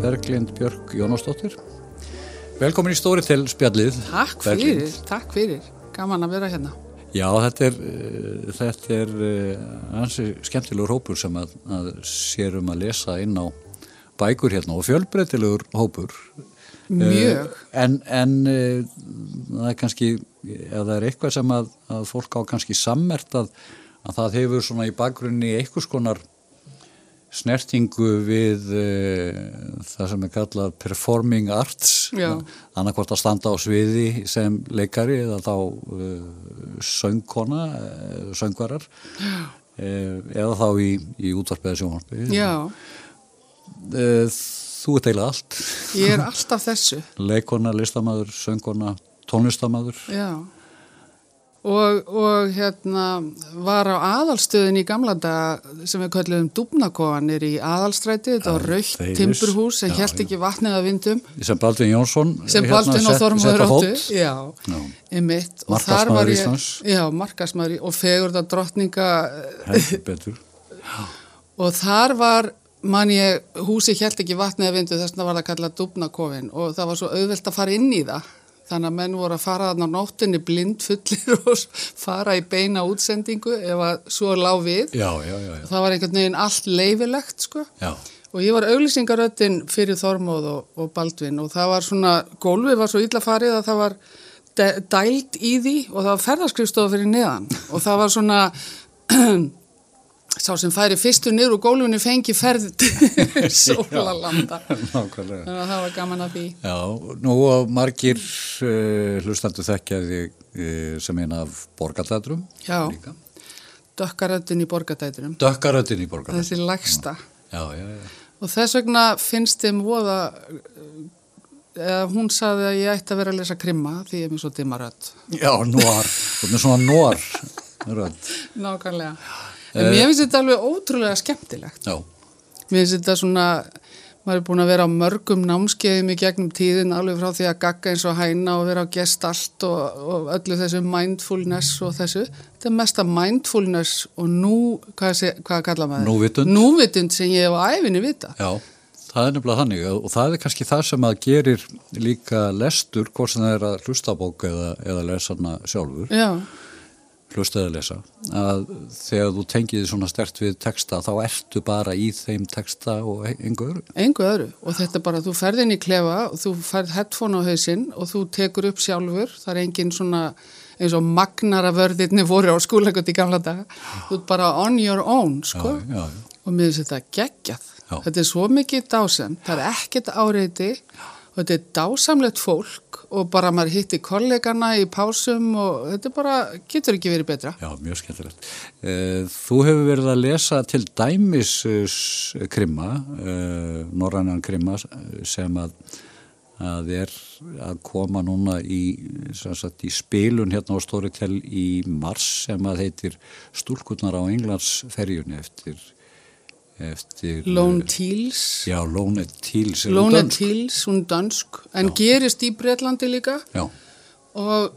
Berglind Björk Jónásdóttir. Velkomin í stóri til spjallið. Takk fyrir, Berglind. takk fyrir. Gaman að vera hérna. Já, þetta er, eh, þetta er eh, ansi skemmtilegur hópur sem að, að sérum að lesa inn á bækur hérna og fjölbreytilegur hópur. Mjög. Eh, En, en eh, það er kannski, ef það er eitthvað sem að, að fólk á kannski sammert að, að það hefur svona í bakgrunni einhvers konar snertingu við uh, það sem er kallað performing arts Já. annarkvort að standa á sviði sem leikari eða þá uh, söngkona, uh, söngvarar uh, eða þá í, í útvarpið eða sjónvarpið Já, Eh, þú ert eiginlega allt ég er alltaf þessu. leikona, listamaður, söngkona tónlistamaður Já. Og, og hérna var á aðalstöðin í gamla daga sem við köllum dúbnakofanir í aðalstræti, þetta var raukt þeir- timburhús sem já, held já. ekki vatnið að vindum sem Baldvin Jónsson sem hérna, Baldvin og sett- Þormóður setti á áttu. fót. Já, Já. einmitt. Og Markaðsmaður þar var ég- Íslands. Já, markasmaður og fegurða drottninga heldur betur Og þar var, man ég, húsi held ekki vatnið að vindu þess vegna var það kallað dúbnakofin og það var svo auðvelt að fara inn í það. Þannig að menn voru að fara þarna á nóttinni blind fullir og s- fara í beina útsendingu ef að svo lá við. já, já, já, já. Það var einhvern veginn allt leifilegt sko. já. Og ég var auglýsingaröttin fyrir Þormóð og, og Baldvin og það var svona, gólfið var svo illa farið að það var dæ- dælt í því og það var ferðaskrifstofa fyrir neðan og það var svona, sá sem færi fyrstu niður úr gólfinu fengi ferð til Sólalanda. nákvæmlega Þannig að það var gaman að því. Já, nú og margir uh, hlustandu þekkja þig uh, sem eina af borgarlætrum. Já, dökkaröttin í borgadæturum, Dökkaröttin í borgarlætrum. þessi lægsta. Já, já, já. Og þess vegna finnst þeim voða, eða hún saði að ég ætti að vera að lesa krimma því ég er mér svo dimmarött. Já, nóar. Þú ert með svona nóar rödd. Nákvæmlega. En mér finnst þetta alveg ótrúlega skemmtilegt. Já, Mér finnst þetta svona, maður er búin að vera á mörgum námskeiðum í gegnum tíðin alveg frá því að gagga eins og hæna og vera á gest allt og, og öllu þessu mindfulness og þessu. Þetta er mesta mindfulness og nú, hvað, sé, hvað kalla maður? Núvitund. Núvitund sem ég hef á æfinni vita. já. Það er nefnilega þannig og og það er kannski það sem að gerir líka lestur, hvort sem það er að hlusta á bók eða, eða lesa hana sjálfur, Já, hlusta eða lesa, að þegar þú tengið svona stert við texta þá ertu bara í þeim texta og e- einhver, engu öðru. Og þetta er bara, þú ferð inn í klefa og þú ferð headphone á hausinn og þú tekur upp sjálfur. Það er engin svona eins og magnara vörðirni voru á skúlakot í gamla daga. Þú ert bara on your own, sko. já, já, já. og mér finnst þetta geggjað. Já. Þetta er svo mikið dásam, það er ekkert áreiti og þetta er dásamlegt fólk og bara maður hitti kollegana í pásum og þetta er bara, getur ekki verið betra. Já, mjög skemmtilegt. Eh, Þú hefur verið að lesa til dæmis eh, s- krimma, eh, norrænan krimma eh, sem að, að er að koma núna í, sem sagt, í spilun hérna á Storytel í mars sem að heitir Stúlkurnar á Englands ferjunni eftir, eftir eh, Lone Teals, Já, Lone Teals er hún Lone dönsk? Teals, hún dansk, en gerist í Breitlandi líka Já, og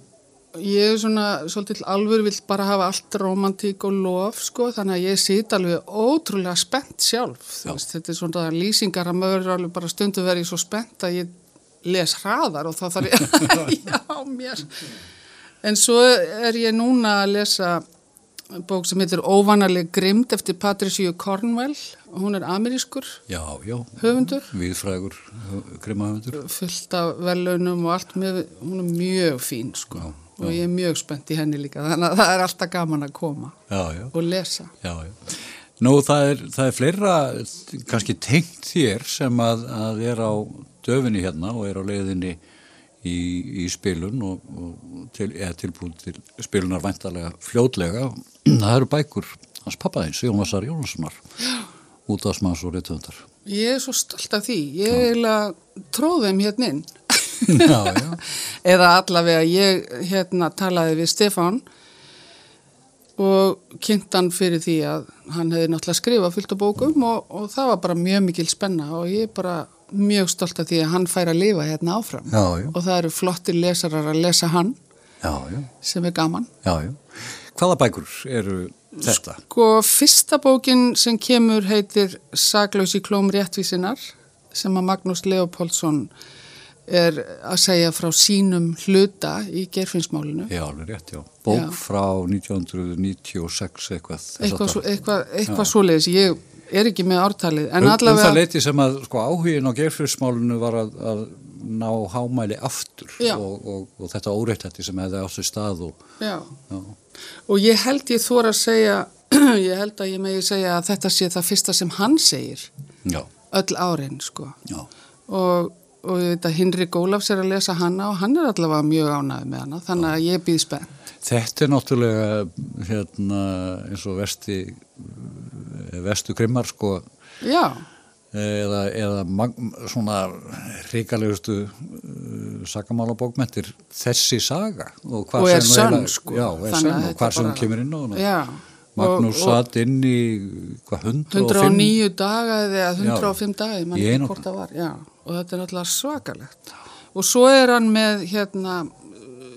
ég er svona, svolítið alveg vill bara hafa allt romantík og lof, sko, þannig að ég sit alveg ótrúlega spennt sjálf. þú Já. Veist, þetta er svona lýsingar að maður er alveg bara stundu verið svo spennt að ég les hraðar og þá þarf ég já, mér. En svo er ég núna að lesa bók sem heitir Óvanaleg grimd eftir Patricia Cornwell. Hún er amerískur já, já. höfundur, Viðfrægur krimmahöfundur. fullt af velunum og allt með, hún er mjög fín sko Já, og ég er mjög spennt í henni líka þannig að það er alltaf gaman að koma Já, já. og lesa. Já, já. Nú, það er, það er fleira kannski tengt þér sem að, að er á döfinni hérna og er á leiðinni í, í spilun og, og til, eða tilbúin til spilunar væntalega fljótlega. Það eru bækur hans pappaðins, Jónasar Jónassonar, útafsmanns og réttöndar. Ég er svo stolt af því, ég er eiginlega tróðum hérna inn Já, já. eða allavega ég hérna talaði við Stefán og kynnt hann fyrir því að hann hefði náttúrulega skrifað fullt á bókum og, og það var bara mjög mikil spenna og ég er bara mjög stolt af því að hann fær að lifa hérna áfram Já, já. og það eru flottir lesarar að lesa hann Já, já. sem er gaman. Já, já. Hvaða bækur eru þetta? Sko, fyrsta bókin sem kemur heitir Saklaus í klóm réttvísinar sem að Magnús Leopoldsson er að segja frá sínum hluta í gerfinsmálinu. Já, alveg rétt, já. Bók Já. frá 1996 eitthvað. þess Eitthvað, háttar. svo, eitthvað, eitthvað svoleiðis, ég er ekki með ártalið, Um, en um allavega... það leiti sem að sko, áhugin á geirfyrsmálinu var að, að ná hámæli aftur Já. og, og, og þetta óreittætti sem hefði átt í stað og Já, já, og ég held ég þóra að segja, ég held að ég megi segja að þetta sé það fyrsta sem hann segir já, öll árin, sko. já, Og, og ég veit að Hinrik Ólafs er að lesa hanna og hann er allavega mjög ánægð með hana, þannig að ég býð spennt. Þetta er náttúrulega hérna, eins og vesti, vestu grimmar sko Já, eða, eða mag, svona ríkalegustu sakamálabókmentir þessi saga og, hvað Og er sem nú sönn, eiginlega- sko. já, er Þannig sönn að og þetta hvað sem bara- hún kemur inn á hana. já. Magnús Og- og satt inn í hvað, 105 109 daga eða 105 Já. daga, ég Í mann ekki einu- hvort það var, já. Og þetta er náttúrulega svakalegt. Og svo er hann með, hérna,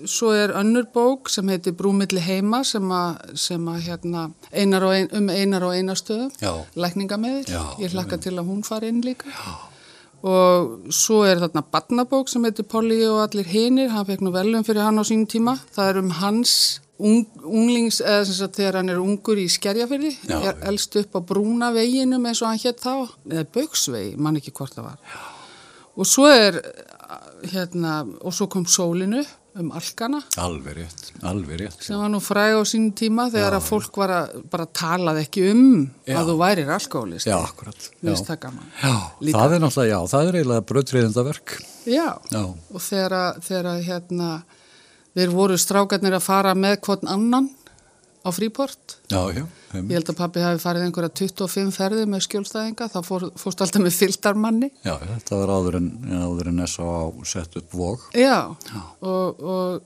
svo er önnur bók sem heitir Brúmilli heima sem að, sem að hérna, einar og ein, um einar og einastöðum, Já. lækningameðil, Já, ég hlakka til að hún fari inn líka. Já. Og svo er þarna barnabók sem heitir Polly og allir hinir, hann fekk nú velum fyrir hann á sínum tíma. Það er um hans ung, unglings, eða sem sagt þegar hann er ungur í skerjafyrði, Já, er já. elst upp á brúna veginum eins og hann hétt þá, eða bauksvegi, mann ekki hvort það var. Og svo er, hérna, og svo kom sólinu um alkana alveg rétt, alveg rétt sem var nú fræg á sínum tíma þegar að fólk var að, bara talaði ekki um Já. að þú værir alkoholist. já, akkurat Mér já. finnst það gaman. Já, Líka. það er náttúrulega, já, það er eiginlega bröðtriðendaverk Já. já, og þegar, að- þegar að, hérna, þeir voru strákarnir að fara með hvern annan á fríport. já, já, um, Ég held að pappi hafi farið einhverja 25 ferði með skjólstæðinga, þá fór, fórst alltaf með fylgdarmanni. já þetta var áður en, áður en S.A. sett upp vóg Já, Og, og,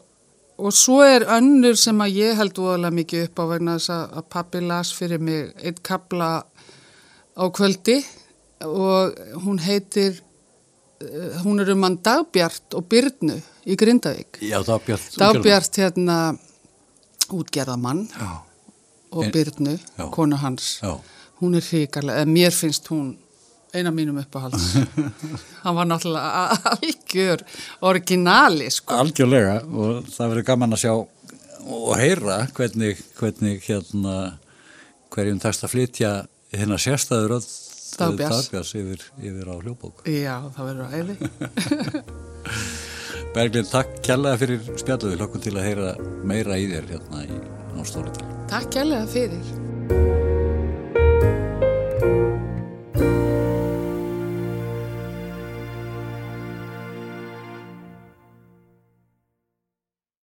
og svo er önnur sem að ég held úðalega mikið upp á vegna þess að, að pappi las fyrir mig eitt kapla á kvöldi og hún heitir, eh, hún er um hann Dagbjart og Byrnu í Grindavík. já, Dagbjart Dagbjart hérna útgerðamann já, og En- Byrnu, Já. konu hans. já, Hún er hrikalega, eða mér finnst hún eina mínum uppáhalds. Hann var náttúrulega algjör orginali, sko. algjörlega og það verður gaman að sjá og heyra hvernig, hvernig hérna, hverjum tekst að flytja hérna sérstæður öll Dagbjarts. Dagbjars yfir, yfir á hljóbók Já, það verður æði. Berglind, takk kærlega fyrir spjallu við hlokkum til að heyra meira í þér hérna í Nónstórital Takk kærlega fyrir.